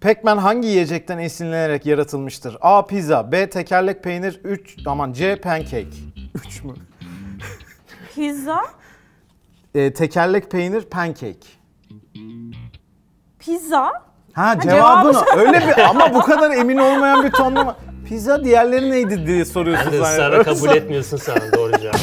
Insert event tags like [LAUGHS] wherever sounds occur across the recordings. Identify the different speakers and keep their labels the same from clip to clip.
Speaker 1: Pac-Man hangi yiyecekten esinlenerek yaratılmıştır? A. Pizza B. Tekerlek peynir 3. Aman C. Pancake 3 mü?
Speaker 2: Pizza.
Speaker 1: E, tekerlek peynir pancake.
Speaker 2: Pizza.
Speaker 1: Ha
Speaker 2: cevabı
Speaker 1: cevabını öyle bir ama bu kadar emin olmayan bir tonlama. Pizza diğerleri neydi diye soruyorsun
Speaker 3: Sen ısrarla kabul etmiyorsun sen doğru cevabı.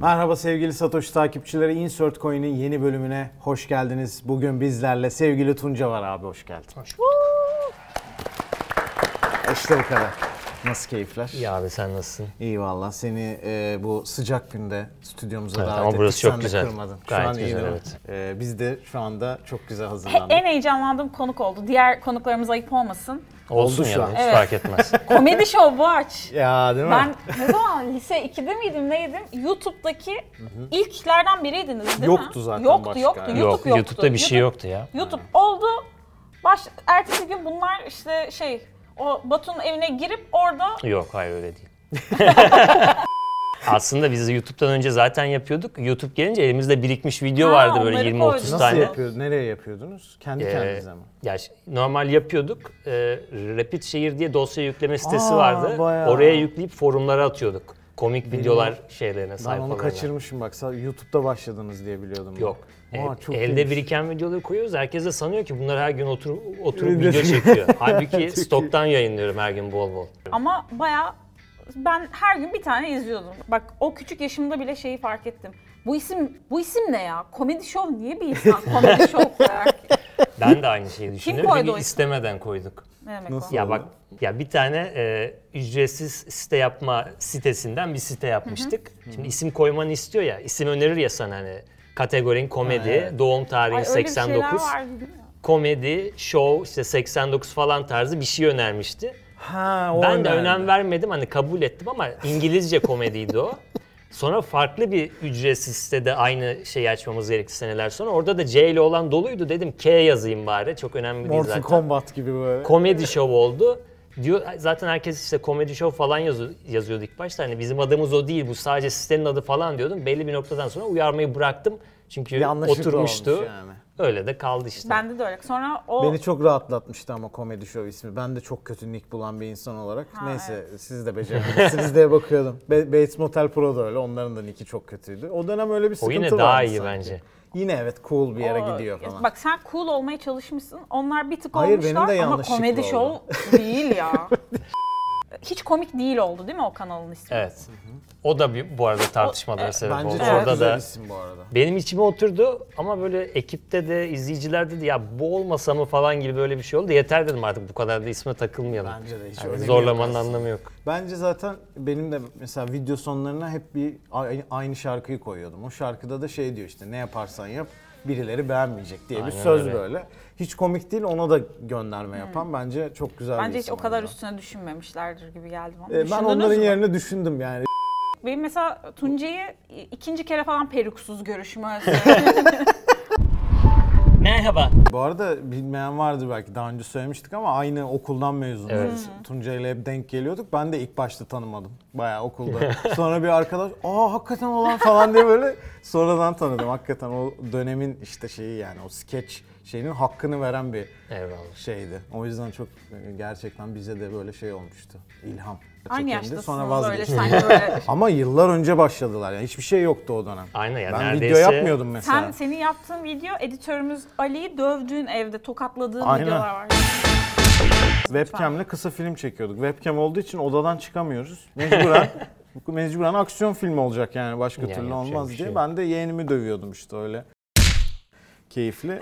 Speaker 1: Merhaba sevgili Satoshi takipçileri Insert Coin'in yeni bölümüne hoş geldiniz. Bugün bizlerle sevgili Tunca var abi hoş geldin. Hoş İşte bu kadar. Nasıl keyifler?
Speaker 3: İyi abi sen nasılsın?
Speaker 1: İyi valla seni e, bu sıcak günde stüdyomuza
Speaker 3: Evet,
Speaker 1: davet
Speaker 3: ama
Speaker 1: ettik.
Speaker 3: burası çok
Speaker 1: Sen de
Speaker 3: güzel.
Speaker 1: kırmadın. Şu
Speaker 3: Gayet
Speaker 1: an iyi
Speaker 3: güzel,
Speaker 1: değil mi? E, biz de şu anda çok güzel hazırlandık.
Speaker 2: En heyecanlandığım konuk oldu. Diğer konuklarımız ayıp olmasın.
Speaker 3: Olsun
Speaker 1: Oldu şu
Speaker 3: ya
Speaker 1: an.
Speaker 3: hiç
Speaker 2: Evet. [LAUGHS]
Speaker 3: fark etmez.
Speaker 2: Komedi şov bu aç.
Speaker 1: ya değil mi?
Speaker 2: Ben ne zaman lise 2'de miydim neydim? YouTube'daki ilklerden biriydiniz değil mi?
Speaker 1: Yoktu zaten
Speaker 2: Yoktu
Speaker 1: başka.
Speaker 2: yoktu.
Speaker 1: Yok,
Speaker 2: YouTube
Speaker 3: Yok
Speaker 2: yoktu.
Speaker 3: YouTube'da bir şey
Speaker 2: YouTube-
Speaker 3: yoktu ya.
Speaker 2: YouTube oldu. Baş, ertesi gün bunlar işte şey o Batu'nun evine girip orada
Speaker 3: Yok hayır öyle değil. [LAUGHS] Aslında biz YouTube'dan önce zaten yapıyorduk. YouTube gelince elimizde birikmiş video
Speaker 2: Ha,
Speaker 3: vardı böyle
Speaker 2: onları
Speaker 3: 20-30
Speaker 2: koydun.
Speaker 1: Nasıl
Speaker 3: tane.
Speaker 1: yapıyordunuz? Nereye yapıyordunuz? Kendi
Speaker 3: Ee,
Speaker 1: kendinize mi?
Speaker 3: ya ş- normal yapıyorduk. Ee, Rapid Şehir diye dosya yükleme sitesi
Speaker 1: Aa,
Speaker 3: vardı.
Speaker 1: bayağı.
Speaker 3: Oraya yükleyip forumlara atıyorduk. Komik videolar şeylerine,
Speaker 1: Ben onu
Speaker 3: sayfalarına.
Speaker 1: kaçırmışım bak. Sa- YouTube'da başladınız diye biliyordum. ben.
Speaker 3: Yok.
Speaker 1: Aa,
Speaker 3: E,
Speaker 1: çok
Speaker 3: elde
Speaker 1: iyiymiş.
Speaker 3: biriken videoları koyuyoruz. Herkes de sanıyor ki bunlar her gün oturup, oturup
Speaker 1: Öyle
Speaker 3: video
Speaker 1: değil.
Speaker 2: [LAUGHS]
Speaker 3: çekiyor. Halbuki stoktan yayınlıyorum her gün bol bol.
Speaker 2: ama bayağı ben her gün bir tane izliyordum. Bak o küçük yaşımda bile şeyi fark ettim. Bu isim bu isim ne ya? Komedi şov niye bir
Speaker 1: [LAUGHS]
Speaker 2: insan komedi şov koyar ki?
Speaker 3: Ben de aynı şeyi düşünüyorum.
Speaker 2: koydu
Speaker 3: Çünkü
Speaker 2: o ismi?
Speaker 3: istemeden koyduk.
Speaker 2: Ne demek
Speaker 1: Nasıl?
Speaker 2: o?
Speaker 3: Ya bak ya bir tane e, ücretsiz site yapma sitesinden bir site yapmıştık. Şimdi isim koymanı istiyor ya. isim önerir ya sana hani kategorin komedi, doğum tarihi
Speaker 2: Ay, öyle bir şeyler
Speaker 3: 89,
Speaker 2: vardı değil mi?
Speaker 3: komedi, show işte 89 falan tarzı bir şey önermişti.
Speaker 1: Ha, o
Speaker 3: Ben de
Speaker 1: önemli.
Speaker 3: önem vermedim hani kabul ettim ama İngilizce komediydi o. Sonra farklı bir ücretsiz sitede aynı şeyi açmamız gerekti seneler sonra. Orada da C ile olan doluydu dedim K yazayım bari çok önemli değil
Speaker 1: Mortal
Speaker 3: zaten.
Speaker 1: Kombat gibi böyle.
Speaker 3: komedi şov oldu. Diyor zaten herkes işte komedi şov falan yazıyor, yazıyordu ilk başta. Hani bizim adımız o değil bu sadece sitenin adı falan diyordum. Belli bir noktadan sonra uyarmayı bıraktım. Çünkü
Speaker 1: Bir anlaşıklı
Speaker 3: oturmuştu.
Speaker 1: olmuş yani.
Speaker 3: Öyle de kaldı işte.
Speaker 2: Bende de öyle. Sonra o
Speaker 1: Beni çok rahatlatmıştı ama komedi şov ismi. Ben de çok kötü nick bulan bir insan olarak. Neyse siz de becerebilirsiniz diye
Speaker 2: [LAUGHS]
Speaker 1: bakıyordum. Be- Bates Motel Pro da öyle. Onların da nicki çok kötüydü. O dönem öyle bir
Speaker 3: o
Speaker 1: sıkıntı vardı
Speaker 3: yine daha iyi
Speaker 1: sanki.
Speaker 3: bence.
Speaker 1: Yine evet cool bir yere
Speaker 2: o-
Speaker 1: gidiyor falan.
Speaker 2: Bak sen cool olmaya çalışmışsın. Onlar bir tık
Speaker 1: Hayır, benim de
Speaker 2: olmuşlar ama
Speaker 1: yanlışlıkla
Speaker 2: komedi
Speaker 1: oldu.
Speaker 2: şov
Speaker 1: [LAUGHS]
Speaker 2: değil ya. Hiç komik değil oldu değil mi o kanalın ismi?
Speaker 3: Evet. O da bir, bu arada tartışmalara sebep
Speaker 1: bence
Speaker 3: oldu.
Speaker 1: çok
Speaker 3: Orada
Speaker 1: güzel
Speaker 3: da
Speaker 1: isim bu arada.
Speaker 3: benim içime oturdu ama böyle ekipte de izleyicilerde de ya bu olmasa mı falan gibi böyle bir şey oldu. Yeter dedim artık bu kadar da isme takılmayalım.
Speaker 1: Bence de hiç
Speaker 3: Yani
Speaker 1: önemi yok
Speaker 3: zorlamanın
Speaker 1: aslında.
Speaker 3: anlamı yok.
Speaker 1: Bence zaten benim de mesela video sonlarına hep bir a- aynı şarkıyı koyuyordum. O şarkıda da şey diyor işte ne yaparsan yap birileri beğenmeyecek diye bir
Speaker 3: Aynen
Speaker 1: söz
Speaker 3: öyle.
Speaker 1: böyle. Hiç komik değil ona da gönderme yapan bence çok güzel bir
Speaker 2: Hmm. Bence hiç
Speaker 1: isim
Speaker 2: o kadar
Speaker 1: oldu.
Speaker 2: üstüne düşünmemişlerdir gibi geldi bana.
Speaker 1: Ee, ben
Speaker 2: Düşündünüz
Speaker 1: onların
Speaker 2: mü?
Speaker 1: yerine düşündüm yani.
Speaker 2: Benim mesela Tuncay'ı ikinci kere falan
Speaker 1: [LAUGHS]
Speaker 2: peruksuz görüşüm öyle.
Speaker 3: Merhaba.
Speaker 1: Bu arada bilmeyen vardı belki daha önce söylemiştik ama aynı okuldan mezunuz.
Speaker 3: Evet.
Speaker 1: Tunca ile hep denk geliyorduk. Ben de ilk başta tanımadım. Bayağı
Speaker 3: [LAUGHS]
Speaker 1: okulda. Sonra bir arkadaş aa hakikaten olan falan diye böyle sonradan tanıdım. Hakikaten o dönemin işte şeyi yani o skeç şeyinin hakkını veren bir
Speaker 3: Eyvallah.
Speaker 1: şeydi. O yüzden çok e, gerçekten bize de böyle şey olmuştu. İlham.
Speaker 2: Aynı
Speaker 1: Çekildi.
Speaker 2: yaştasınız
Speaker 1: Sonra
Speaker 2: öyle
Speaker 1: vazgeçtim.
Speaker 2: sanki
Speaker 1: [LAUGHS]
Speaker 2: böyle.
Speaker 1: Ama yıllar önce başladılar yani hiçbir şey yoktu o dönem.
Speaker 3: Aynen ya,
Speaker 1: Ben
Speaker 3: neredeyse-
Speaker 1: video yapmıyordum mesela.
Speaker 2: Sen senin yaptığın video editörümüz Ali'yi dövdüğün evde tokatladığın
Speaker 1: Aynen.
Speaker 2: videolar var.
Speaker 1: Webcam'le kısa film çekiyorduk. Webcam olduğu için odadan çıkamıyoruz. Mecburen mecburen aksiyon filmi olacak yani başka
Speaker 3: Yani
Speaker 1: türlü
Speaker 3: yapacak
Speaker 1: olmaz
Speaker 3: bir
Speaker 1: diye.
Speaker 3: şey yok.
Speaker 1: Ben de yeğenimi dövüyordum işte öyle. Keyifli.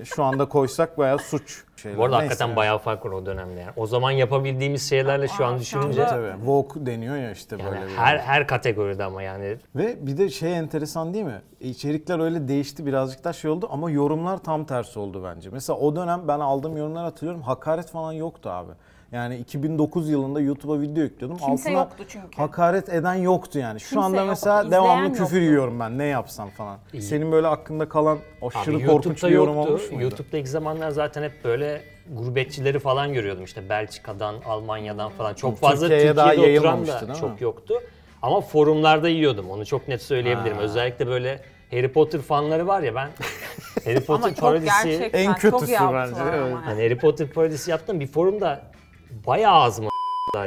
Speaker 1: Ee, Şu anda koysak bayağı suç. Şeyler.
Speaker 3: Bu arada
Speaker 1: Neyse
Speaker 3: hakikaten
Speaker 1: yani.
Speaker 3: bayağı fark var o dönemde yani. O zaman yapabildiğimiz şeylerle şu
Speaker 2: Aa, şu
Speaker 3: an
Speaker 2: anda-
Speaker 3: düşününce
Speaker 2: bayağı-
Speaker 1: Tabii woke deniyor ya işte
Speaker 3: yani
Speaker 1: böyle. bir-
Speaker 3: her her kategoride ama yani
Speaker 1: Ve bir de şey enteresan değil mi? İçerikler öyle değişti birazcık daha şey oldu ama yorumlar tam tersi oldu bence. Mesela o dönem ben aldığım yorumlar hatırlıyorum hakaret falan yoktu abi. Yani 2009 yılında YouTube'a video yüklüyordum.
Speaker 2: Kimse yoktu çünkü.
Speaker 1: Hakaret eden yoktu yani. Şu
Speaker 2: Kimse
Speaker 1: anda
Speaker 2: yoktu,
Speaker 1: mesela
Speaker 2: izleyen
Speaker 1: devamlı
Speaker 2: yoktu.
Speaker 1: küfür yiyorum ben ne yapsam falan. Senin böyle aklında kalan aşırı
Speaker 3: abi
Speaker 1: korkunç
Speaker 3: YouTube'da
Speaker 1: bir yorum
Speaker 3: yoktu.
Speaker 1: olmuş muydu? [LAUGHS]
Speaker 3: YouTube'da ilk zamanlar zaten hep böyle gurbetçileri falan görüyordum işte Belçika'dan, Almanya'dan falan. Çok fazla
Speaker 1: Türkiye'ye
Speaker 3: Türkiye'de
Speaker 1: daha
Speaker 3: oturan
Speaker 1: yayılmamıştı,
Speaker 3: da
Speaker 1: değil mi?
Speaker 3: çok yoktu. Ama forumlarda yiyordum onu çok net söyleyebilirim. Özellikle böyle Harry Potter fanları
Speaker 1: [LAUGHS]
Speaker 3: var ya ben Harry Potter
Speaker 2: Ama çok
Speaker 3: parodisi
Speaker 2: gerçekten
Speaker 1: En
Speaker 2: çok
Speaker 1: kötüsü
Speaker 2: yaptılar
Speaker 1: bence,
Speaker 2: ama
Speaker 1: evet.
Speaker 2: yani.
Speaker 3: hani Harry Potter parodisi yaptım bir forumda bayağı ağzıma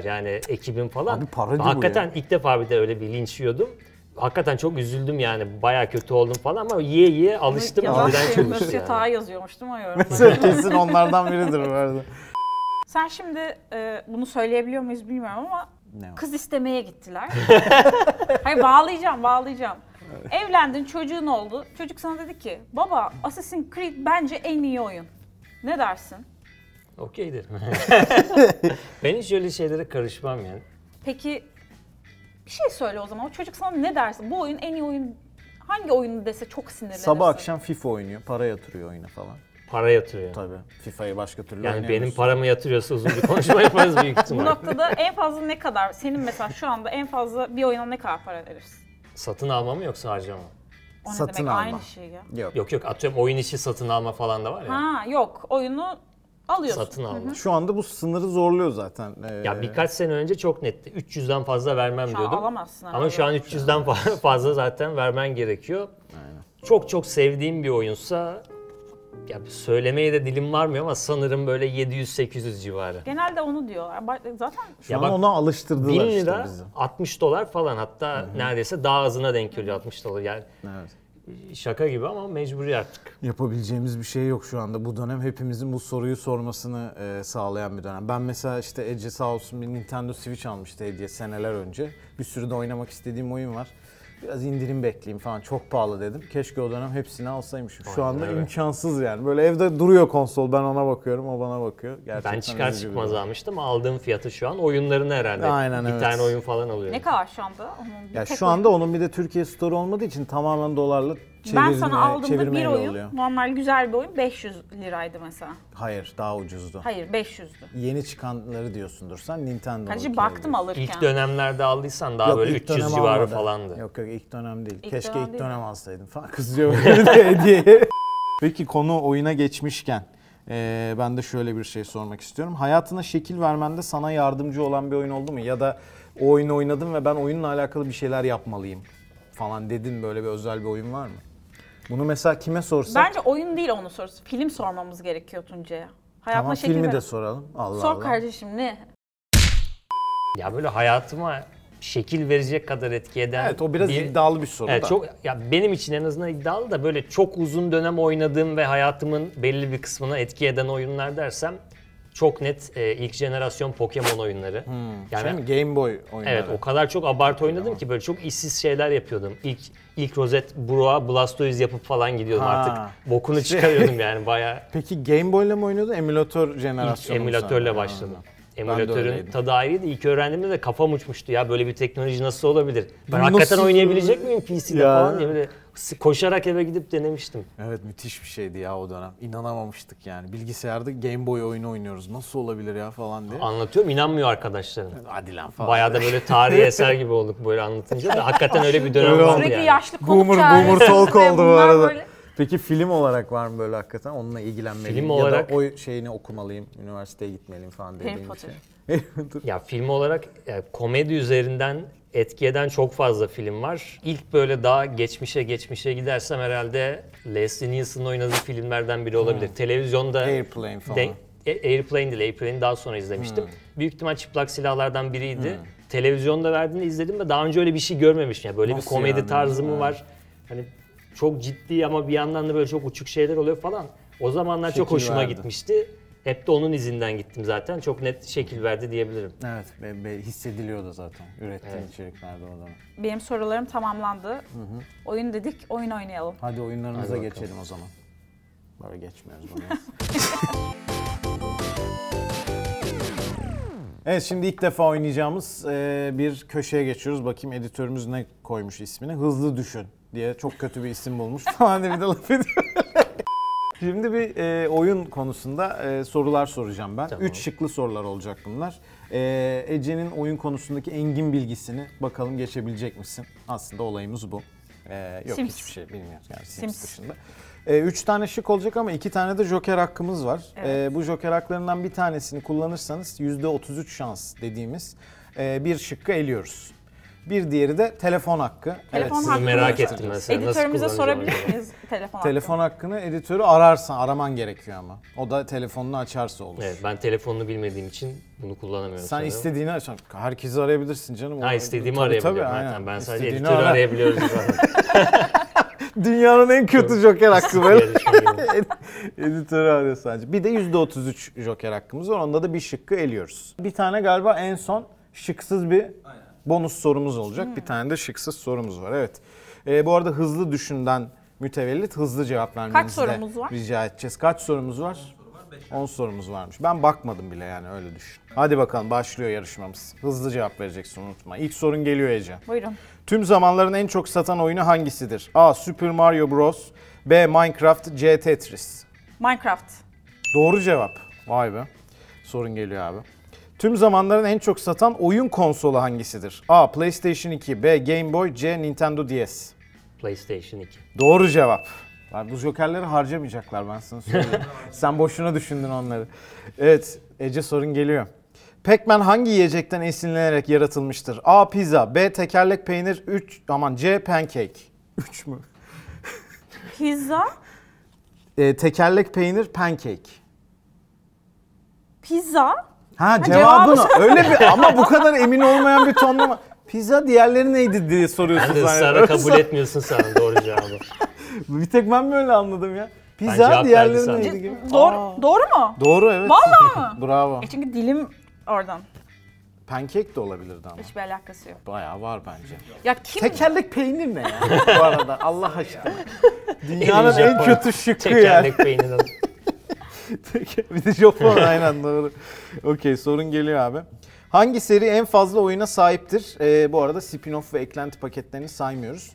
Speaker 3: yani ekibim falan.
Speaker 1: Abi parodi bu
Speaker 3: Hakikaten
Speaker 1: ya.
Speaker 3: ilk defa bir de öyle bir linç yiyordum. Hakikaten çok üzüldüm yani bayağı kötü oldum falan ama yiye yiye alıştım.
Speaker 2: Yazan
Speaker 3: Birden
Speaker 2: şey,
Speaker 3: çok
Speaker 2: Mesut
Speaker 3: üzüldüm
Speaker 2: Yatağı
Speaker 3: yani.
Speaker 2: yazıyormuş değil mi o Hani yorumları?
Speaker 1: Mesela kesin onlardan biridir bu arada.
Speaker 2: [LAUGHS] Sen şimdi e, bunu söyleyebiliyor muyuz bilmiyorum ama
Speaker 1: Ne var?
Speaker 2: kız istemeye gittiler. [LAUGHS] Hayır bağlayacağım, bağlayacağım. Evlendin, çocuğun oldu. Çocuk sana dedi ki, baba Assassin's Creed bence en iyi oyun. Ne dersin?
Speaker 3: Okeydir. [LAUGHS] ben hiç öyle şeylere karışmam yani.
Speaker 2: Peki bir şey söyle o zaman. O çocuk sana ne dersin? Bu oyun en iyi oyun hangi oyunu dese çok sinirlenirsin.
Speaker 1: Sabah akşam FIFA oynuyor, para yatırıyor oyuna falan.
Speaker 3: Para yatırıyor.
Speaker 1: Tabii. FIFA'yı başka türlü
Speaker 3: Yani benim
Speaker 1: oynayamıyorsun.
Speaker 3: paramı yatırıyorsa uzun bir konuşma yaparız büyük
Speaker 2: Bu
Speaker 3: ihtimal.
Speaker 2: noktada en fazla ne kadar, senin mesela şu anda en fazla bir oyuna ne kadar para verirsin?
Speaker 3: Satın alma mı yoksa harcama mı?
Speaker 2: O ne
Speaker 1: Satın
Speaker 2: demek?
Speaker 1: alma.
Speaker 2: Aynı şey ya.
Speaker 1: Yok.
Speaker 3: Yok yok atıyorum oyun içi satın alma falan da var ya.
Speaker 2: Ha yok, oyunu alıyorsun.
Speaker 3: Satın alma.
Speaker 1: Şu anda bu sınırı zorluyor zaten. Ee,
Speaker 3: Ya birkaç sene önce çok netti. 300'den fazla vermem
Speaker 2: Şu an
Speaker 3: diyordum.
Speaker 2: alamazsın
Speaker 3: Ama
Speaker 2: herhalde.
Speaker 3: şu an 300'den fa- fazla zaten vermen gerekiyor. Çok çok sevdiğim bir oyunsa ya söylemeye de dilim varmıyor ama sanırım böyle 700-800 civarı.
Speaker 2: Genelde onu diyorlar. Ba- Zaten
Speaker 1: şu
Speaker 3: Ya
Speaker 1: an
Speaker 3: bak,
Speaker 1: ona alıştırdılar
Speaker 3: 1000
Speaker 1: işte
Speaker 3: lira
Speaker 1: bizi.
Speaker 3: 60 dolar falan hatta neredeyse daha azına denk geliyor 60 dolar. Yani
Speaker 1: Evet.
Speaker 3: şaka gibi ama mecburi artık.
Speaker 1: Yapabileceğimiz bir şey yok şu anda. Bu dönem hepimizin bu soruyu sormasını e, sağlayan bir dönem. Ben mesela işte Ece sağ olsun bir Nintendo Switch almıştı hediye seneler önce. Bir sürü de oynamak istediğim oyun var. Biraz indirim bekleyeyim falan çok pahalı dedim. Keşke o dönem hepsini alsaymışım. Şu
Speaker 3: Aynen
Speaker 1: anda
Speaker 3: öyle.
Speaker 1: imkansız yani. Böyle evde duruyor konsol ben ona bakıyorum o bana bakıyor. Gerçekten
Speaker 3: Ben çıkar
Speaker 1: üzücü bir
Speaker 3: çıkmaz
Speaker 1: durum.
Speaker 3: almıştım. Aldığım fiyatı şu an oyunlarını herhalde.
Speaker 1: Aynen,
Speaker 3: bir
Speaker 1: evet.
Speaker 3: tane oyun falan alıyorum.
Speaker 2: ne kadar şu anda? Onun bir
Speaker 1: Ya
Speaker 2: tek
Speaker 1: şu anda onun bir de Türkiye Store olmadığı için tamamen dolarla çevirme,
Speaker 2: Ben sana aldığımda bir
Speaker 1: çevirmeyle
Speaker 2: oyun,
Speaker 1: oluyor.
Speaker 2: normal güzel bir oyun 500 liraydı mesela.
Speaker 1: Hayır daha ucuzdu.
Speaker 2: Hayır 500'dü.
Speaker 1: Yeni çıkanları diyorsundur sen Nintendo'nun.
Speaker 2: Kardeşim baktım alırken.
Speaker 3: İlk dönemlerde aldıysan daha böyle
Speaker 1: ilk
Speaker 3: 300
Speaker 1: dönem
Speaker 3: civarı
Speaker 1: almadı.
Speaker 3: falandı.
Speaker 1: Yok yok ilk dönem değil.
Speaker 2: İlk
Speaker 1: Keşke
Speaker 2: dönem
Speaker 1: ilk
Speaker 2: değil
Speaker 1: dönem alsaydım falan [LAUGHS] kızıyor böyle de hediye. [LAUGHS] Peki konu oyuna geçmişken eee, ben de şöyle bir şey sormak istiyorum. Hayatına şekil vermende sana yardımcı olan bir oyun oldu mu? Ya da o oyunu oynadım ve ben oyunla alakalı bir şeyler yapmalıyım falan dedin böyle bir özel bir oyun var mı? Bunu mesela kime sorsak?
Speaker 2: Bence oyun değil onun sorusu. Film sormamız gerekiyor Tuncay'a. Hayatına
Speaker 1: tamam
Speaker 2: şekil
Speaker 1: filmi
Speaker 2: veren-
Speaker 1: de soralım. Allah
Speaker 2: Sor
Speaker 1: Allah.
Speaker 2: kardeşim ne?
Speaker 3: Ya böyle hayatıma şekil verecek kadar etki eden
Speaker 1: Evet o biraz
Speaker 3: bir-
Speaker 1: iddialı bir soru
Speaker 3: Evet,
Speaker 1: da.
Speaker 3: çok ya benim için en azından iddialı da böyle çok uzun dönem oynadığım ve hayatımın belli bir kısmına etki eden oyunlar dersem çok net e, ilk jenerasyon Pokemon oyunları. Yani
Speaker 1: Şey mi? Game Boy oyunları.
Speaker 3: Evet o kadar çok abartı oynadım ki böyle çok işsiz şeyler yapıyordum. İlk ilk rozet Bro'a Blastoise yapıp falan gidiyordum
Speaker 1: Ha.
Speaker 3: artık. Bokunu çıkarıyordum
Speaker 1: [LAUGHS]
Speaker 3: yani bayağı
Speaker 1: Peki Game Boy'la mı oynuyordu? Emülatör
Speaker 3: İlk
Speaker 1: jenerasyonu. mu
Speaker 3: emülatörle
Speaker 1: sende?
Speaker 3: başladım.
Speaker 1: de
Speaker 3: Emülatörün
Speaker 1: öyleydim.
Speaker 3: tadı ayrıydı. İlk öğrendiğimde de kafam uçmuştu ya böyle bir teknoloji nasıl olabilir? Ben
Speaker 1: Nasıl-
Speaker 3: hakikaten oynayabilecek miyim PC'de
Speaker 1: Ya.
Speaker 3: falan diye böyle koşarak eve gidip denemiştim.
Speaker 1: Evet müthiş bir şeydi ya o dönem. İnanamamıştık yani. Bilgisayarda Game Boy oyunu oynuyoruz. Nasıl olabilir ya falan diye.
Speaker 3: Anlatıyorum inanmıyor arkadaşlarım.
Speaker 1: Hadi lan falan.
Speaker 3: Bayağı da böyle tarihi eser gibi olduk böyle anlatınca da hakikaten öyle bir dönem
Speaker 1: Öyle
Speaker 3: vardı
Speaker 1: oldu.
Speaker 2: Sürekli
Speaker 3: yani.
Speaker 2: yaşlı konuk
Speaker 1: Boomer,
Speaker 2: çağırıyorsun
Speaker 1: boomer talk
Speaker 2: [LAUGHS] ve
Speaker 1: oldu bu
Speaker 2: bunlar
Speaker 1: arada.
Speaker 2: böyle-
Speaker 1: Peki film olarak var mı böyle hakikaten? Onunla ilgilenmeliyim.
Speaker 3: Film
Speaker 1: ya
Speaker 3: olarak-
Speaker 1: da o şeyini okumalıyım, üniversiteye gitmeliyim falan dediğim bir
Speaker 2: Potter.
Speaker 1: şey. Harry Potter.
Speaker 3: Ya film olarak e, komedi üzerinden etki eden çok fazla film var. İlk böyle daha geçmişe geçmişe gidersem herhalde Leslie Nielsen'ın oynadığı filmlerden biri olabilir.
Speaker 1: [LAUGHS]
Speaker 3: Televizyonda
Speaker 1: Airplane falan. Hmm.
Speaker 3: Denk- E- Airplane değil, Airplane'i daha sonra izlemiştim. Büyük ihtimal çıplak silahlardan biriydi. Televizyonda verdiğini izledim ve daha önce öyle bir şey görmemiştim. Yani böyle
Speaker 1: Nasıl
Speaker 3: bir komedi
Speaker 1: yani?
Speaker 3: tarzı mı
Speaker 1: Ha.
Speaker 3: var? Hani çok ciddi ama bir yandan da böyle çok uçuk şeyler oluyor falan. O zamanlar çok
Speaker 1: Şekil
Speaker 3: hoşuma
Speaker 1: verdi.
Speaker 3: gitmişti. Hep de onun izinden gittim zaten. Çok net şekil verdi diyebilirim.
Speaker 1: Evet, be, be- hissediliyordu zaten. Ürettiğin içeriklerde o zaman.
Speaker 2: Benim sorularım tamamlandı. Oyun dedik, oyun oynayalım.
Speaker 1: Hadi oyunlarımıza
Speaker 3: bakalım.
Speaker 1: geçelim o zaman. Böyle geçmiyoruz bunu. [LAUGHS] evet şimdi ilk defa oynayacağımız e, bir köşeye geçiyoruz. Bakayım editörümüz ne koymuş ismini. Hızlı düşün diye çok kötü bir isim bulmuş [LAUGHS] falan diye bir de laf ediyor. [LAUGHS] Şimdi bir e, oyun konusunda e, sorular soracağım ben.
Speaker 3: Tamam.
Speaker 1: Üç şıklı sorular olacak bunlar. E, Ece'nin oyun konusundaki engin bilgisini bakalım geçebilecek misin? Aslında olayımız bu. E, yok
Speaker 2: Sims.
Speaker 1: hiçbir şey bilmiyoruz yani Sims,
Speaker 2: Sims.
Speaker 1: dışında. E, üç tane şık olacak ama iki tane de joker hakkımız var.
Speaker 2: Evet.
Speaker 1: E, bu joker haklarından bir tanesini kullanırsanız yüzde 33 şans dediğimiz e, bir şıkkı eliyoruz. Bir diğeri de telefon hakkı.
Speaker 2: Telefon
Speaker 1: sizin
Speaker 2: hakkı
Speaker 3: Merak
Speaker 2: Nasıl-
Speaker 3: ettim mesela. nasıl
Speaker 2: Editörümüze
Speaker 3: kullanacağım acaba?
Speaker 2: sorabilir miyiz [LAUGHS] telefon hakkında?
Speaker 1: Telefon hakkını editörü ararsan araman gerekiyor ama. O da telefonunu açarsa olur.
Speaker 3: Evet, ben telefonunu bilmediğim için bunu kullanamıyorum.
Speaker 1: Sen
Speaker 3: sanırım.
Speaker 1: istediğini açan. Herkesi arayabilirsin canım.
Speaker 3: Ha
Speaker 1: O-
Speaker 3: istediğimi
Speaker 1: Tabii,
Speaker 3: arayabiliyorum.
Speaker 1: tabii,
Speaker 3: zaten.
Speaker 1: aynen.
Speaker 3: Ben sadece
Speaker 1: İstediğini
Speaker 3: editörü
Speaker 1: ara.
Speaker 3: arayabiliyorum
Speaker 1: [LAUGHS]
Speaker 3: zaten.
Speaker 1: Dünyanın en kötü joker hakkı
Speaker 3: [LAUGHS]
Speaker 1: böyle.
Speaker 3: Yarışma gibi.
Speaker 1: [LAUGHS] Ed- Editörü arıyor sadece. Bir de %33 joker hakkımız var. Onda da bir şıkkı eliyoruz. Bir tane galiba en son şıksız bir bonus sorumuz olacak. Bir tane de şıksız sorumuz var. Evet. Ee, bu arada hızlı düşünden mütevellit hızlı cevap vermenizi
Speaker 2: Kaç
Speaker 1: de
Speaker 2: sorumuz var?
Speaker 1: rica edeceğiz. Kaç sorumuz var? 10 sorumuz varmış. Ben bakmadım bile yani öyle düşün. Hadi bakalım başlıyor yarışmamız. Hızlı cevap vereceksin unutma. İlk sorun geliyor Ece.
Speaker 2: Buyurun.
Speaker 1: Tüm zamanların en çok satan oyunu hangisidir? A. Super Mario Bros. B. Minecraft. C. Tetris.
Speaker 2: Minecraft.
Speaker 1: Doğru cevap. Vay be. Sorun geliyor abi. Tüm zamanların en çok satan oyun konsolu hangisidir? A. PlayStation 2. B. Game Boy. C. Nintendo DS.
Speaker 3: PlayStation 2.
Speaker 1: Doğru cevap. Abi bu jokerleri harcamayacaklar ben sana
Speaker 3: [LAUGHS]
Speaker 1: söyleyeyim. Sen boşuna düşündün onları. Evet Ece sorun geliyor. Pac-Man hangi yiyecekten esinlenerek yaratılmıştır? A. Pizza. B. Tekerlek peynir. 3. Aman C. Pancake. 3 mü?
Speaker 2: Pizza.
Speaker 1: Ee, tekerlek peynir pancake.
Speaker 2: Pizza.
Speaker 1: Ha
Speaker 2: cevabı
Speaker 1: cevabını öyle bir ama bu kadar emin olmayan bir tonlama. Pizza diğerleri neydi diye
Speaker 3: Ben
Speaker 1: soruyorsun
Speaker 3: de ısrarla
Speaker 1: zannediyorum.
Speaker 3: kabul etmiyorsun sana doğru
Speaker 1: [LAUGHS]
Speaker 3: cevabı.
Speaker 1: Bir tek ben mi öyle anladım ya?
Speaker 3: cevap
Speaker 1: Pizza
Speaker 3: verdi
Speaker 1: diğerleri
Speaker 3: sandım.
Speaker 1: neydi gibi.
Speaker 2: Doğru,
Speaker 1: Aa,
Speaker 2: doğru mu?
Speaker 1: Doğru evet. [LAUGHS]
Speaker 2: Vallahi
Speaker 1: Bravo.
Speaker 2: E çünkü dilim oradan.
Speaker 1: Pancake de olabilirdi ama.
Speaker 2: Hiçbir alakası yok.
Speaker 1: Bayağı var bence.
Speaker 2: Ya kim?
Speaker 1: Tekerlek peynir ne ya bu arada Allah aşkına. Dünyanın en
Speaker 3: Japon
Speaker 1: kötü şıkkı ya.
Speaker 3: Tekerlek peyniri.
Speaker 1: [LAUGHS] bir de Japon aynen doğru. Okey sorun geliyor abi. Hangi seri en fazla oyuna sahiptir? Ee, bu arada spin-off ve eklenti paketlerini saymıyoruz.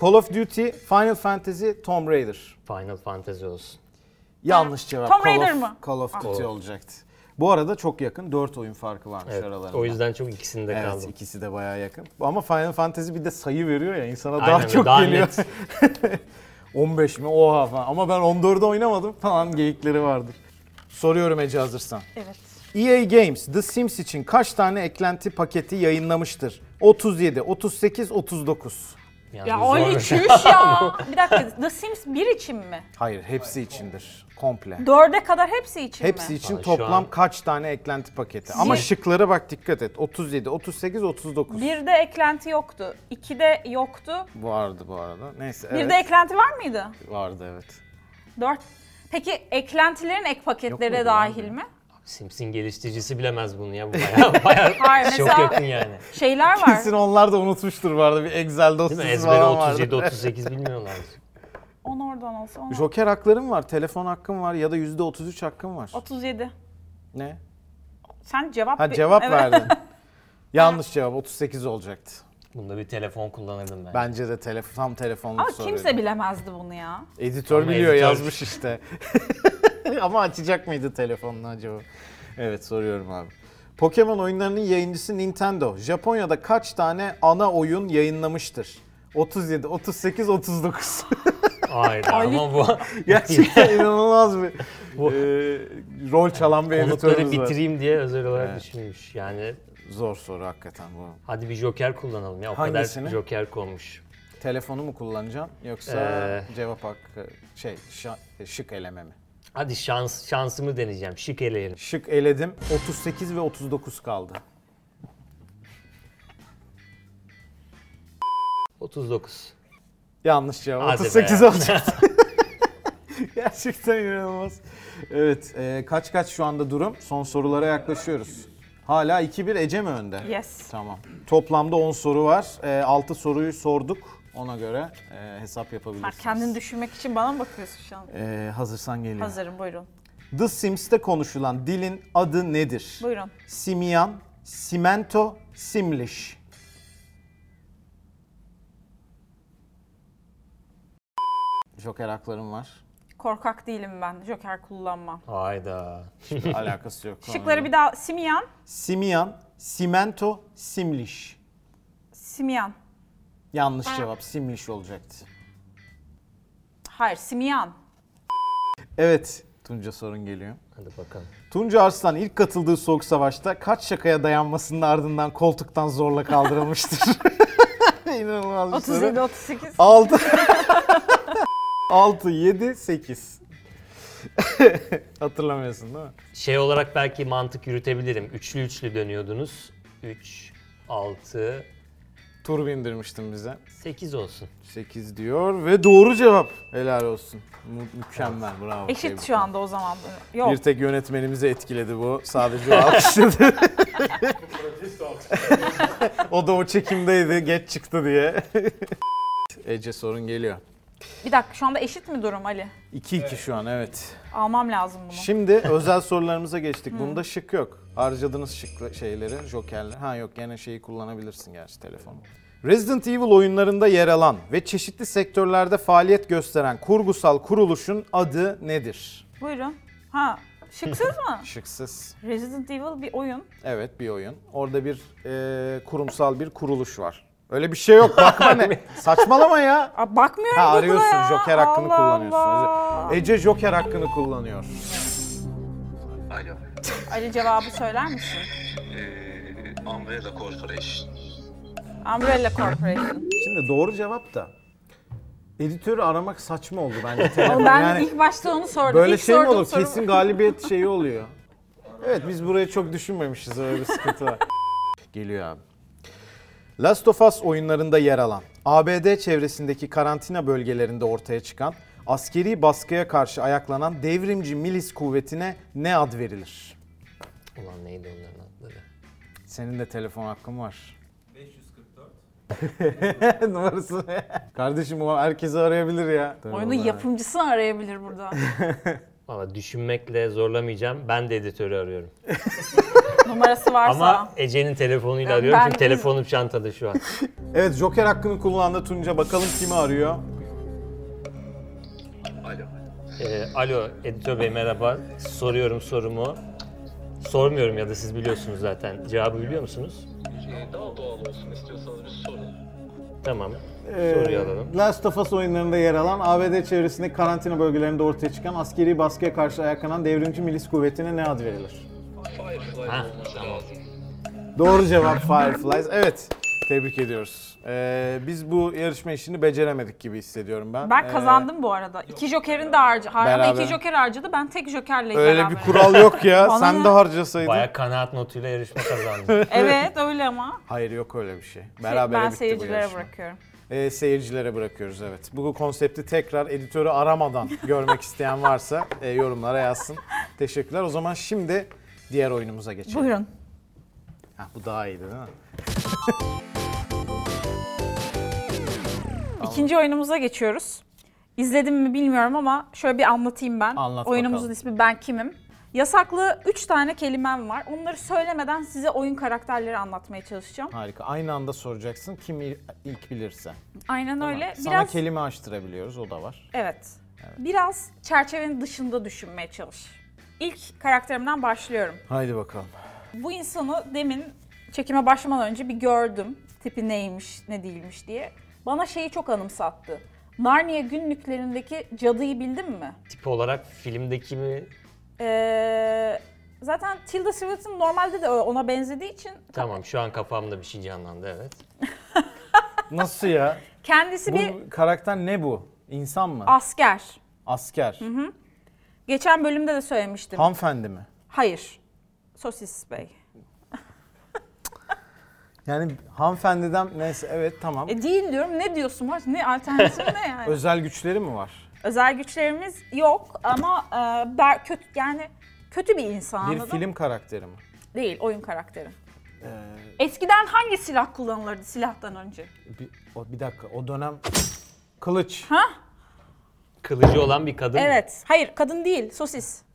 Speaker 1: Call of Duty, Final Fantasy, Tomb Raider.
Speaker 3: Final Fantasy olsun.
Speaker 1: Yanlış cevap.
Speaker 2: Tomb
Speaker 1: Call of-
Speaker 2: Raider mı?
Speaker 1: Call of Duty
Speaker 3: Doğru.
Speaker 1: olacaktı. Bu arada çok yakın. 4 oyun farkı varmış
Speaker 3: Evet.
Speaker 1: aralarında.
Speaker 3: O yüzden çok ikisinde
Speaker 1: Evet
Speaker 3: kaldım.
Speaker 1: ikisi de bayağı yakın. Ama Final Fantasy bir de sayı veriyor ya insana
Speaker 3: Aynen,
Speaker 1: daha çok
Speaker 3: daha
Speaker 1: geliyor. [LAUGHS]
Speaker 3: net.
Speaker 1: 15 mi? Oha falan. Ama ben 14'de oynamadım falan geyikleri vardır. Soruyorum Ece hazırsan.
Speaker 2: Evet.
Speaker 1: EA Games The Sims için kaç tane eklenti paketi yayınlamıştır? 37, 38, 39.
Speaker 3: Yani
Speaker 2: Ya
Speaker 3: zor.
Speaker 1: [LAUGHS]
Speaker 2: Ali çüş ya. Bir dakika The Sims 1 için mi?
Speaker 1: Hayır, hepsi içindir. Komple.
Speaker 2: 4'e kadar hepsi için
Speaker 1: Hepsi
Speaker 2: mi?
Speaker 1: için
Speaker 3: Aa, şu
Speaker 1: toplam
Speaker 3: an-
Speaker 1: kaç tane eklenti paketi? Ama
Speaker 2: Siz-
Speaker 1: şıklara bak dikkat et. 37, 38, 39
Speaker 2: 1'de eklenti yoktu. 2'de yoktu.
Speaker 1: vardı bu arada. Neyse
Speaker 2: 1'de
Speaker 1: evet.
Speaker 2: eklenti var mıydı?
Speaker 1: Vardı evet.
Speaker 2: 4. Peki eklentilerin ek paketlere
Speaker 1: muydu
Speaker 2: dahil
Speaker 1: abi?
Speaker 2: mi?
Speaker 3: Sims'in geliştiricisi bilemez bunu ya. Bu bayağı, [LAUGHS] bayağı
Speaker 2: Hayır,
Speaker 3: çok
Speaker 2: mesela-
Speaker 3: yakın yani.
Speaker 2: Şeyler var.
Speaker 1: Kesin onlar da unutmuştur vardı bir Excel
Speaker 3: Değil
Speaker 1: dosyası
Speaker 3: mi?
Speaker 1: falan
Speaker 3: Ezbere
Speaker 1: vardı.
Speaker 3: 37 38 bilmiyorlar.
Speaker 2: 10 oradan olsa 10.
Speaker 1: Joker haklarım var, telefon hakkım var ya da %33 hakkım var.
Speaker 2: 37.
Speaker 1: Ne?
Speaker 2: Sen cevap
Speaker 1: Ha
Speaker 2: ver-
Speaker 1: cevap
Speaker 2: Evet.
Speaker 1: verdin. Yanlış cevap 38 olacaktı.
Speaker 3: Bunda bir telefon kullanırdım ben.
Speaker 1: Bence de telefon tam telefonluk
Speaker 2: [LAUGHS] Ama
Speaker 1: soruydu.
Speaker 2: kimse bilemezdi bunu ya.
Speaker 1: Editör
Speaker 3: Ama
Speaker 1: biliyor
Speaker 3: editör-
Speaker 1: yazmış işte. [LAUGHS] Ama açacak mıydı telefonunu acaba? Evet soruyorum abi. Pokemon oyunlarının yayıncısı Nintendo. Japonya'da kaç tane ana oyun yayınlamıştır? 37, 38, 39.
Speaker 2: [LAUGHS]
Speaker 3: Hayır
Speaker 2: Ali-
Speaker 3: ama bu
Speaker 1: [LAUGHS]
Speaker 3: [LAUGHS]
Speaker 1: Gerçekten inanılmaz bir
Speaker 3: Bu-
Speaker 1: e, rol çalan bir
Speaker 3: konukları
Speaker 1: editörümüz var.
Speaker 3: bitireyim diye özel olarak
Speaker 1: Evet.
Speaker 3: düşünmüş. Yani
Speaker 1: Zor soru hakikaten bu.
Speaker 3: hadi bir joker kullanalım ya. O
Speaker 1: Hangisini?
Speaker 3: kadar joker konmuş.
Speaker 1: Telefonu mu kullanacaksın yoksa
Speaker 3: Ee.
Speaker 1: cevap hakkı şey şa- şık eleme mi?
Speaker 3: Hadi şans şansımı deneyeceğim. Şık eleyelim.
Speaker 1: Şık eledim. 38 ve 39 kaldı.
Speaker 3: 39.
Speaker 1: Yanlış cevap.
Speaker 3: Hadi be.
Speaker 1: 38
Speaker 3: [LAUGHS]
Speaker 1: olacaktı. Gerçekten inanılmaz. Evet, e, kaç kaç şu anda durum? Son sorulara yaklaşıyoruz. Hala 2-1 Ece mi önde?
Speaker 2: Yes.
Speaker 1: Tamam. Toplamda 10 soru var. E, 6 soruyu sorduk. Ona göre e, hesap
Speaker 2: Bak
Speaker 1: yapabilirsiniz.
Speaker 2: kendini düşünmek için bana mı bakıyorsun şu an?
Speaker 1: E, hazırsan geliyor.
Speaker 2: Hazırım buyurun.
Speaker 1: The Sims'te konuşulan dilin adı nedir?
Speaker 2: Buyurun.
Speaker 1: Simian, Simento, Simlish. Joker haklarım var.
Speaker 2: Korkak değilim ben. Joker kullanmam.
Speaker 3: Hayda.
Speaker 1: Alakası yok.
Speaker 2: Şıkları bir daha. Simiyan.
Speaker 1: Simian, Simento, Simlish.
Speaker 2: Simiyan.
Speaker 1: Yanlış cevap Simlish olacaktı.
Speaker 2: Hayır Simiyan.
Speaker 1: Evet, Tunca sorun geliyor.
Speaker 3: Hadi bakalım.
Speaker 1: Tunca Arslan ilk
Speaker 2: [LAUGHS]
Speaker 1: katıldığı soğuk savaşta kaç şakaya dayanmasının ardından koltuktan zorla kaldırılmıştır? [LAUGHS] İnanılmaz bir soru.
Speaker 2: 37, 38.
Speaker 1: [LAUGHS] 6 6 7 8 [LAUGHS] Hatırlamıyorsun değil mi?
Speaker 3: Şey olarak belki mantık yürütebilirim. Üçlü üçlü dönüyordunuz. 3, 6,
Speaker 1: Tur bindirmiştin bize.
Speaker 3: 8 olsun.
Speaker 1: 8 diyor ve doğru cevap. Helal olsun. Mü- mükemmel bravo.
Speaker 2: Eşit
Speaker 1: Tebrik.
Speaker 2: şu anda o zaman. Yok.
Speaker 1: Bir tek yönetmenimizi etkiledi bu. Sadece o alkışladı. [LAUGHS] o da o çekimdeydi. Geç çıktı diye. [LAUGHS] Ece sorun geliyor.
Speaker 2: Bir dakika şu anda eşit mi durum Ali?
Speaker 1: 2-2 şu an evet.
Speaker 2: Almam lazım bunu. [LAUGHS]
Speaker 1: Şimdi özel sorularımıza geçtik. Bunda şık yok. Harcadığınız şık şeyleri, jokerleri. Ha yok gene şeyi kullanabilirsin gerçi telefonu. Resident Evil oyunlarında yer alan ve çeşitli sektörlerde faaliyet gösteren kurgusal kuruluşun adı nedir?
Speaker 2: Buyurun. Ha
Speaker 1: [LAUGHS]
Speaker 2: şıksız mı?
Speaker 1: Şıksız.
Speaker 2: Resident Evil bir oyun.
Speaker 1: Evet bir oyun. Orada bir e, kurumsal bir kuruluş var. Öyle bir şey yok bakma
Speaker 2: [LAUGHS]
Speaker 1: ne. Saçmalama ya.
Speaker 2: Aa, bakmıyorum
Speaker 1: Ha
Speaker 2: Google'a
Speaker 1: arıyorsun
Speaker 2: Hani- ya.
Speaker 1: Joker hakkını
Speaker 2: Allah Allah.
Speaker 1: kullanıyorsun. Ece Joker hakkını kullanıyor.
Speaker 4: Alo.
Speaker 2: Ali cevabı söyler misin?
Speaker 4: Ee, Umbrella Corporation.
Speaker 2: Umbrella Corporation.
Speaker 1: Şimdi doğru cevap da editörü aramak saçma oldu bence.
Speaker 2: [LAUGHS] Ama
Speaker 1: Telefon.
Speaker 2: ben
Speaker 1: [LAUGHS] Yani
Speaker 2: ilk başta onu sordum.
Speaker 1: böyle
Speaker 2: İlk
Speaker 1: şey mi
Speaker 2: sorduğum
Speaker 1: olur?
Speaker 2: soru-
Speaker 1: Kesin galibiyet şeyi oluyor. Evet biz burayı çok düşünmemişiz öyle bir sıkıntı var. Geliyor abi. Last of Us oyunlarında yer alan, ABD çevresindeki karantina bölgelerinde ortaya çıkan, askeri baskıya karşı ayaklanan devrimci milis kuvvetine ne ad verilir?
Speaker 3: Ulan neydi onların adları?
Speaker 1: Senin de telefon hakkın var. 544. [LAUGHS] Numarası ne? Kardeşim o herkesi arayabilir ya.
Speaker 2: Oyunun yapımcısını arayabilir
Speaker 1: [LAUGHS]
Speaker 2: burada.
Speaker 3: Valla düşünmekle zorlamayacağım. Ben de editörü arıyorum.
Speaker 2: Numarası varsa.
Speaker 3: Ama Ece'nin telefonuyla
Speaker 2: Ben-
Speaker 3: arıyorum
Speaker 2: ben-
Speaker 3: çünkü telefonum çantada şu an.
Speaker 1: Evet Joker hakkını kullandı Tunca. Bakalım kimi arıyor?
Speaker 4: Alo.
Speaker 3: Ee, alo editör bey merhaba. Soruyorum sorumu. Sormuyorum ya da siz biliyorsunuz zaten. Cevabı biliyor musunuz?
Speaker 4: Ee, daha doğal olsun istiyorsanız bir sorun.
Speaker 3: Tamam. Ee, Soruyu alalım.
Speaker 1: Last of Us oyunlarında yer alan ABD çevresindeki karantina bölgelerinde ortaya çıkan askeri baskıya karşı ayaklanan devrimci milis kuvvetine ne ad verilir?
Speaker 4: Firefly
Speaker 3: Ha,
Speaker 4: olması lazım.
Speaker 1: Doğru cevap Fireflies. Evet. Tebrik ediyoruz. Ee, biz bu yarışma işini beceremedik gibi hissediyorum ben.
Speaker 2: Ben
Speaker 1: Ee,
Speaker 2: kazandım bu arada. İki jokerin de harcadı. Harada
Speaker 1: Beraber.
Speaker 2: iki joker harcadı. Ben tek jokerle
Speaker 1: Öyle
Speaker 2: beraber.
Speaker 1: bir kural yok ya.
Speaker 2: Bana
Speaker 1: Sen
Speaker 2: ne?
Speaker 1: de harcasaydın.
Speaker 3: Baya kanaat notuyla
Speaker 2: [LAUGHS]
Speaker 3: yarışma kazandım.
Speaker 2: Evet öyle
Speaker 1: [LAUGHS]
Speaker 2: ama.
Speaker 1: Hayır yok öyle bir şey.
Speaker 2: Şey,
Speaker 1: Berabere
Speaker 2: ben
Speaker 1: bitti bu
Speaker 2: seyircilere
Speaker 1: yarışma.
Speaker 2: bırakıyorum.
Speaker 1: Ee, seyircilere bırakıyoruz evet. Bu konsepti tekrar editörü
Speaker 2: [LAUGHS]
Speaker 1: aramadan görmek isteyen varsa e, yorumlara yazsın. Teşekkürler. O zaman şimdi diğer oyunumuza geçelim.
Speaker 2: Buyurun.
Speaker 1: Ha, bu daha iyiydi değil mi?
Speaker 2: İkinci oyunumuza geçiyoruz. İzledim mi bilmiyorum ama şöyle bir anlatayım ben.
Speaker 1: Anlat
Speaker 2: Oyunumuzun
Speaker 1: bakalım.
Speaker 2: ismi Ben Kimim. Yasaklı 3 tane kelimem var. Onları söylemeden size oyun karakterleri anlatmaya çalışacağım.
Speaker 1: Harika. Aynı anda soracaksın kim il- ilk bilirse.
Speaker 2: Aynen öyle.
Speaker 1: Sana
Speaker 2: Biraz
Speaker 1: kelime açtırabiliyoruz o da var.
Speaker 2: evet. Biraz çerçevenin dışında düşünmeye çalış. İlk karakterimden başlıyorum.
Speaker 1: Haydi bakalım.
Speaker 2: Bu insanı demin çekime başlamadan önce bir gördüm. Tipi neymiş, ne değilmiş diye. Bana şeyi çok anımsattı. Narnia günlüklerindeki cadıyı bildin mi?
Speaker 3: Tip olarak filmdeki mi?
Speaker 2: Ee, zaten Tilda Swinton normalde de ona benzediği için
Speaker 3: Tamam şu an kafamda bir şey canlandı evet.
Speaker 1: Nasıl ya?
Speaker 2: kendisi bir
Speaker 1: bu karakter ne bu? İnsan mı?
Speaker 2: asker.
Speaker 1: Asker.
Speaker 2: Geçen bölümde de söylemiştim.
Speaker 1: Hanımefendi mi?
Speaker 2: Hayır. Sosis Bey.
Speaker 1: Yani hanımefendiden neyse evet tamam.
Speaker 2: E değil diyorum. Ne diyorsun? Var? Ne alternatifi
Speaker 1: [LAUGHS]
Speaker 2: ne yani?
Speaker 1: Özel güçleri mi var?
Speaker 2: Özel güçlerimiz yok ama e, ber- kötü yani kötü bir insan
Speaker 1: Bir Ee,
Speaker 2: anladın
Speaker 1: film karakteri mi?
Speaker 2: Değil, oyun karakteri. Eskiden hangi silah kullanılırdı silahtan önce?
Speaker 1: Bir, o, bir dakika o dönem kılıç.
Speaker 3: Kılıcı olan bir kadın. mı?
Speaker 2: Evet. Hayır, kadın değil, sosis. [LAUGHS]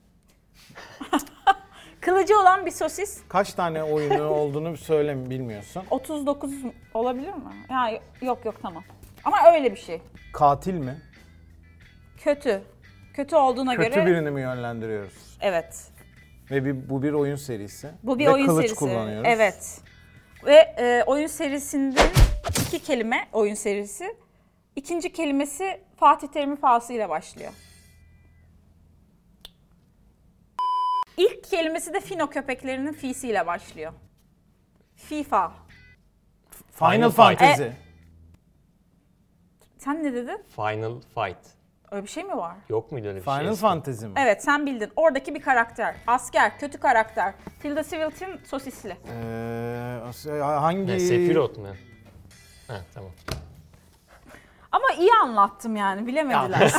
Speaker 2: Kılıcı olan bir sosis.
Speaker 1: Kaç tane
Speaker 2: [LAUGHS]
Speaker 1: oyunu olduğunu söyle bilmiyorsun.
Speaker 2: 39 olabilir mi? Ya yok yok tamam. Ama öyle bir şey.
Speaker 1: Katil mi?
Speaker 2: Kötü. Kötü olduğuna
Speaker 1: Kötü
Speaker 2: göre.
Speaker 1: birini mi yönlendiriyoruz?
Speaker 2: Evet.
Speaker 1: Ve bir, bu bir oyun serisi.
Speaker 2: Bu bir
Speaker 1: Ve
Speaker 2: oyun
Speaker 1: kılıç
Speaker 2: serisi.
Speaker 1: kullanıyoruz.
Speaker 2: Evet. Ve e, oyun serisinde iki kelime oyun serisi. İkinci kelimesi Fatih Terim'in fası ile başlıyor. İlk kelimesi de Fino köpeklerinin fisi ile başlıyor. FIFA.
Speaker 1: Final,
Speaker 3: Final
Speaker 1: Fantasy.
Speaker 2: Sen ne dedin?
Speaker 3: Final Fight. Öyle
Speaker 2: bir şey mi var?
Speaker 3: Yok muydu öyle bir şey?
Speaker 1: Final Fantasy mi?
Speaker 2: Evet sen bildin. Oradaki bir karakter. Asker, kötü karakter. Tilda Swinton sosisli.
Speaker 1: Ee, as- hangi...
Speaker 3: Ne, Sephiroth mu? Ha tamam.
Speaker 2: Ama iyi anlattım yani bilemediler.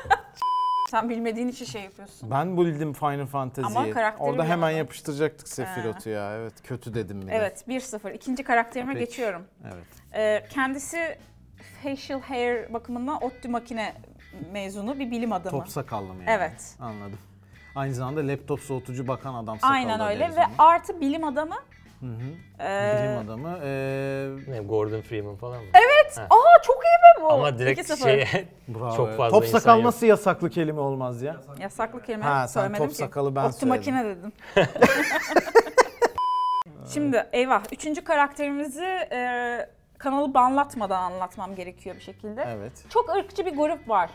Speaker 1: [LAUGHS]
Speaker 2: sen bilmediğin için şey yapıyorsun.
Speaker 1: Ben bildim Final Fantasy'yi.
Speaker 2: Ama karakteri
Speaker 1: Orada hemen
Speaker 2: bilemedim.
Speaker 1: yapıştıracaktık Sephiroth'u ya. Evet kötü dedim bir de.
Speaker 2: Evet 1-0. İkinci karakterime
Speaker 1: Peki.
Speaker 2: geçiyorum.
Speaker 1: Evet.
Speaker 2: Ee, kendisi facial hair bakımından ODTÜ makine mezunu bir bilim adamı.
Speaker 1: Top sakallı mı yani?
Speaker 2: Evet.
Speaker 1: Anladım. Aynı zamanda laptop soğutucu bakan adam sakallı
Speaker 2: Aynen öyle
Speaker 1: deriz
Speaker 2: ve
Speaker 1: ona.
Speaker 2: artı bilim adamı. Ee,
Speaker 1: bilim adamı. Ee,
Speaker 3: Ne, Gordon Freeman falan mı?
Speaker 2: Aa çok iyi be bu.
Speaker 3: Ama direkt
Speaker 2: 2-0.
Speaker 3: şey
Speaker 1: bravo.
Speaker 3: çok fazla
Speaker 1: Top
Speaker 3: insan
Speaker 1: sakal
Speaker 3: yok.
Speaker 1: nasıl yasaklı kelime olmaz ya?
Speaker 2: Yasaklı kelime
Speaker 1: Ha, sen
Speaker 2: söylemedim
Speaker 1: top
Speaker 2: ki.
Speaker 1: sakalı ben
Speaker 2: Ottu
Speaker 1: söyledim.
Speaker 2: makine dedim.
Speaker 1: [LAUGHS]
Speaker 2: [LAUGHS] Şimdi eyvah üçüncü karakterimizi e, kanalı banlatmadan anlatmam gerekiyor bir şekilde.
Speaker 1: Evet.
Speaker 2: Çok ırkçı bir grup var.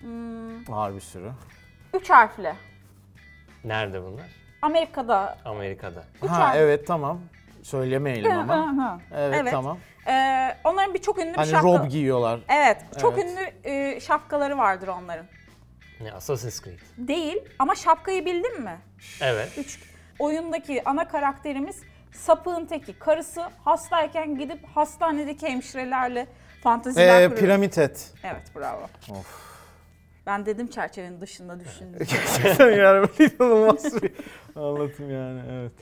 Speaker 2: Hmm,
Speaker 1: Var bir sürü.
Speaker 2: üç harfli.
Speaker 3: [LAUGHS] Nerede bunlar?
Speaker 2: Amerika'da
Speaker 3: Amerika'da.
Speaker 2: üç
Speaker 1: ha
Speaker 2: harfli.
Speaker 1: evet tamam. Söylemeyelim
Speaker 2: [LAUGHS]
Speaker 1: ama. Evet,
Speaker 2: Evet.
Speaker 1: tamam.
Speaker 2: E, onların bir çok ünlü bir
Speaker 1: Hani
Speaker 2: şapka.
Speaker 1: rob giyiyorlar.
Speaker 2: Evet, çok
Speaker 1: Evet.
Speaker 2: ünlü e, şapkaları vardır onların.
Speaker 3: Ne, Assassin's Creed.
Speaker 2: Değil ama şapkayı bildin mi?
Speaker 3: Evet.
Speaker 2: Üç oyundaki ana karakterimiz sapığın teki. Karısı hastayken gidip hastanedeki hemşirelerle fanteziler
Speaker 1: Ee,
Speaker 2: kuruyor.
Speaker 1: piramit et.
Speaker 2: Evet bravo.
Speaker 1: Of.
Speaker 2: Ben dedim çerçevenin dışında düşündüm.
Speaker 1: Gerçekten [LAUGHS] yani böyle inanılmaz bir anlatım yani evet.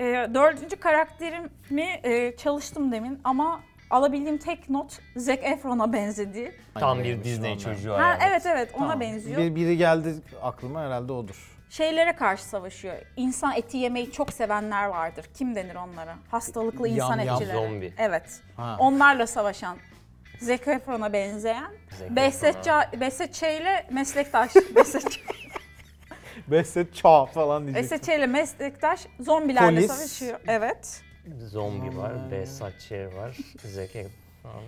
Speaker 2: Ee, dördüncü karakterimi e, çalıştım demin ama alabildiğim tek not Zac Efron'a benzedi.
Speaker 3: Tam
Speaker 1: Aynen
Speaker 3: bir
Speaker 1: öyleymiş
Speaker 3: Disney
Speaker 1: onlar.
Speaker 3: çocuğu
Speaker 2: Ha,
Speaker 3: yani.
Speaker 2: evet evet ona
Speaker 1: Tamam.
Speaker 2: benziyor.
Speaker 1: Bir- biri geldi aklıma herhalde odur.
Speaker 2: Şeylere karşı savaşıyor. İnsan eti yemeyi çok sevenler vardır. Kim denir onlara? Hastalıklı
Speaker 1: Yam
Speaker 2: insan
Speaker 1: yam
Speaker 2: etçileri.
Speaker 3: zombi.
Speaker 2: Evet.
Speaker 1: Ha.
Speaker 2: Onlarla savaşan. Zac Efron'a benzeyen.
Speaker 3: Zac
Speaker 2: Behzat
Speaker 3: Efron'a.
Speaker 2: Ca- Behzat Ç. ile
Speaker 1: [LAUGHS]
Speaker 2: meslektaş. Behzat Ç.
Speaker 1: Behzat Çağ falan diyecektim.
Speaker 2: Behzat Ç. ile meslektaş zombilerle
Speaker 1: Polis.
Speaker 2: savaşıyor. Evet.
Speaker 3: Zombi var, Besatçı var,
Speaker 2: [LAUGHS]
Speaker 3: Zac Efron.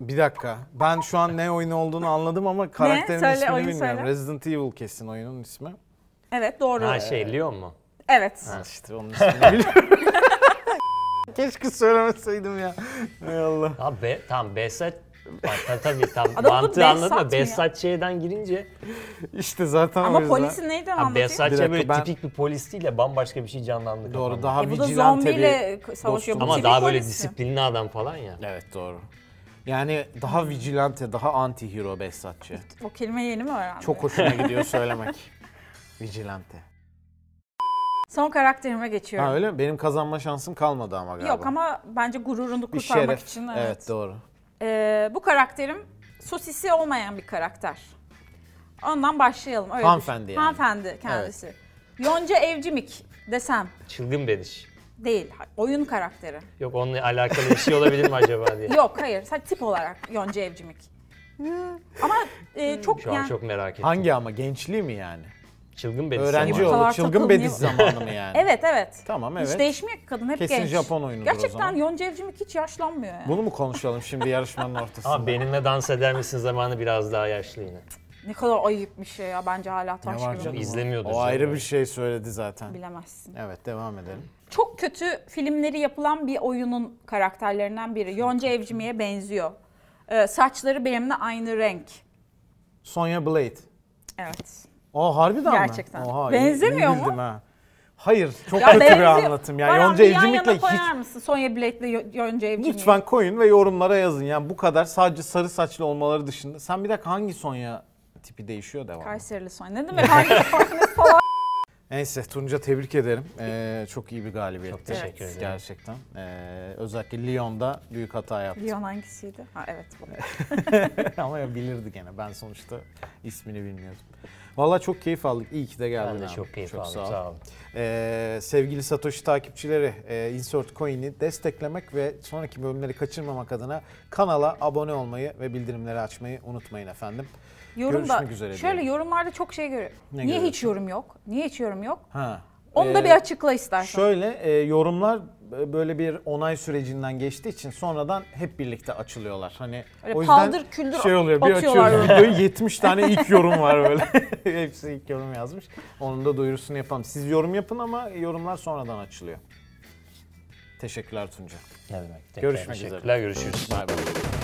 Speaker 1: Bir dakika. Ben şu an ne oyunu olduğunu anladım ama karakterin
Speaker 2: Söyle,
Speaker 1: ismini
Speaker 2: oyunu
Speaker 1: bilmiyorum.
Speaker 2: söyle.
Speaker 1: Resident Evil kesin oyunun ismi.
Speaker 2: Evet doğru.
Speaker 3: Ha şey Leon mu?
Speaker 2: Evet.
Speaker 1: İşte onun ismini biliyorum. [LAUGHS] Keşke söylemeseydim ya. Hay Allah.
Speaker 3: Abi be, tam Besat Bak, ta- tabii tam
Speaker 2: [LAUGHS] Adamın
Speaker 3: mantığı
Speaker 2: Behzat mı
Speaker 3: anladın
Speaker 2: ya?
Speaker 3: mı? Besatçı'dan girince
Speaker 1: İşte zaten o
Speaker 2: Ama
Speaker 1: yüzden.
Speaker 2: polisin neydi
Speaker 3: ha,
Speaker 2: anlatayım?
Speaker 1: Bir
Speaker 3: Besatçı
Speaker 1: dakika,
Speaker 3: böyle
Speaker 1: ben-
Speaker 3: şey tipik bir polis değil de bambaşka bir şey canlandı
Speaker 1: Doğru
Speaker 3: kafamda.
Speaker 1: daha
Speaker 2: E, bu da
Speaker 1: vigilante
Speaker 2: zombiyle
Speaker 1: bir
Speaker 2: savaşıyor.
Speaker 1: dostum.
Speaker 3: Ama
Speaker 2: Tipik
Speaker 3: daha böyle
Speaker 2: polis mi?
Speaker 3: disiplinli adam falan ya.
Speaker 1: Evet doğru. Yani daha vigilante, daha anti hero Behzatçı.
Speaker 2: O kelimeyi yeni mi öğrendin?
Speaker 1: Çok hoşuma gidiyor
Speaker 2: [LAUGHS]
Speaker 1: söylemek. Vigilante.
Speaker 2: Son karakterime geçiyorum.
Speaker 1: Ha öyle mi? Benim kazanma şansım kalmadı ama galiba.
Speaker 2: Yok ama bence gururunu
Speaker 1: bir
Speaker 2: kurtarmak
Speaker 1: şeref.
Speaker 2: için.
Speaker 1: evet. doğru.
Speaker 2: Ee, bu karakterim sosisi olmayan bir karakter. Ondan başlayalım. Öyle
Speaker 1: Hanımefendi
Speaker 2: düşün.
Speaker 1: yani.
Speaker 2: Hanımefendi kendisi. Yonca Evcimik desem
Speaker 3: Çılgın bediş.
Speaker 2: değil. ha- Oyun karakteri.
Speaker 3: Yok onunla alakalı bir şey olabilir mi
Speaker 2: [LAUGHS]
Speaker 3: acaba diye.
Speaker 2: Yok hayır. Sadece tip olarak Yonca Evcimik. Ama e, çok
Speaker 3: Hmm. Şu an
Speaker 2: yani-
Speaker 3: çok merak ettim.
Speaker 1: Hangi ama gençliği mi yani?
Speaker 3: Çılgın bediş.
Speaker 1: Öğrenci
Speaker 3: zamanı.
Speaker 1: yolu,
Speaker 2: Kadar
Speaker 1: çılgın
Speaker 2: takılmıyor.
Speaker 1: bediz zamanı mı yani?
Speaker 2: [LAUGHS] Evet evet.
Speaker 1: Tamam
Speaker 2: Hiç
Speaker 1: evet.
Speaker 2: değişmiyor ki kadın hep
Speaker 1: Kesin
Speaker 2: genç.
Speaker 1: Japon oyunudur o
Speaker 2: Gerçekten
Speaker 1: zaman.
Speaker 2: Yonca Evcimik hiç yaşlanmıyor yani.
Speaker 1: Bunu mu konuşalım şimdi yarışmanın ortasında?
Speaker 3: Ama benimle dans eder misin zamanı biraz daha yaşlı yine.
Speaker 2: Ne kadar ayıp bir şey ya bence hala taş
Speaker 1: var
Speaker 2: gibi.
Speaker 1: canım?
Speaker 3: İzlemiyordur.
Speaker 1: O ayrı bir şey söyledi zaten.
Speaker 2: Bilemezsin.
Speaker 1: Evet devam edelim.
Speaker 2: Çok kötü filmleri yapılan bir oyunun karakterlerinden biri. Yonca Evcimik'e benziyor. Ee, saçları benimle aynı renk.
Speaker 1: Sonya Blade.
Speaker 2: Evet.
Speaker 1: Aa harbiden
Speaker 2: Gerçekten.
Speaker 1: mi? Oha, iyi-
Speaker 2: Benzemiyor
Speaker 1: iyi
Speaker 2: mu?
Speaker 1: bildim ha. Hayır çok
Speaker 2: Ya
Speaker 1: kötü bir
Speaker 2: benziyor.
Speaker 1: anlatım. Ya
Speaker 2: Baran
Speaker 1: Yonca
Speaker 2: bir yan yana
Speaker 1: Evcimik'le hiç
Speaker 2: koyar mısın Sonya Blade'le Yo- Yonca Evcimik'i?
Speaker 1: Lütfen koyun ve yorumlara yazın. Yani bu kadar sadece sarı saçlı olmaları dışında. Sen bir dakika hangi Sonya tipi değişiyor devam.
Speaker 2: Kayserili Sonya. Ne [LAUGHS] demek hangi Sonya falan?
Speaker 1: Neyse Tunca tebrik ederim. Ee, çok iyi bir galibiyet.
Speaker 3: Çok teşekkür ederim.
Speaker 1: Gerçekten. Ee, özellikle Lyon'da büyük hata yaptı.
Speaker 2: Leon hangisiydi? Ha [LAUGHS] evet bu.
Speaker 1: [LAUGHS] Ama ya bilirdi gene. Ben sonuçta ismini bilmiyordum. Vallahi çok keyif aldık. İyi ki de geldin
Speaker 3: Ben de
Speaker 1: abi.
Speaker 3: çok keyif aldım.
Speaker 1: ol.
Speaker 3: Sağ olun.
Speaker 1: Ee, sevgili Satoshi takipçileri, e, Insert Coin'i desteklemek ve sonraki bölümleri kaçırmamak adına kanala abone olmayı ve bildirimleri açmayı unutmayın efendim.
Speaker 2: Yorum da
Speaker 1: Görüşmek üzere
Speaker 2: şöyle
Speaker 1: diyelim.
Speaker 2: yorumlarda çok şey görüyorum.
Speaker 1: Ne
Speaker 2: Niye hiç
Speaker 1: görüyorsun?
Speaker 2: yorum yok? Niye hiç yorum yok?
Speaker 1: Ha.
Speaker 2: Onu da
Speaker 1: Ee,
Speaker 2: bir açıkla istersen.
Speaker 1: Şöyle e, yorumlar e, böyle bir onay sürecinden geçtiği için sonradan hep birlikte açılıyorlar. Hani
Speaker 2: Öyle
Speaker 1: o yüzden
Speaker 2: paldır küldür
Speaker 1: şey oluyor. Bir
Speaker 2: atıyorlar
Speaker 1: açıyoruz videoyu 70 tane ilk yorum var böyle. [LAUGHS] Hepsi ilk yorum yazmış. Onun da duyurusunu yapalım. Siz yorum yapın ama yorumlar sonradan açılıyor. Teşekkürler Tunca.
Speaker 3: Ne demek? Tekrar
Speaker 1: Görüşmek üzere.
Speaker 3: teşekkürler. Görüşürüz.
Speaker 1: Bay bay.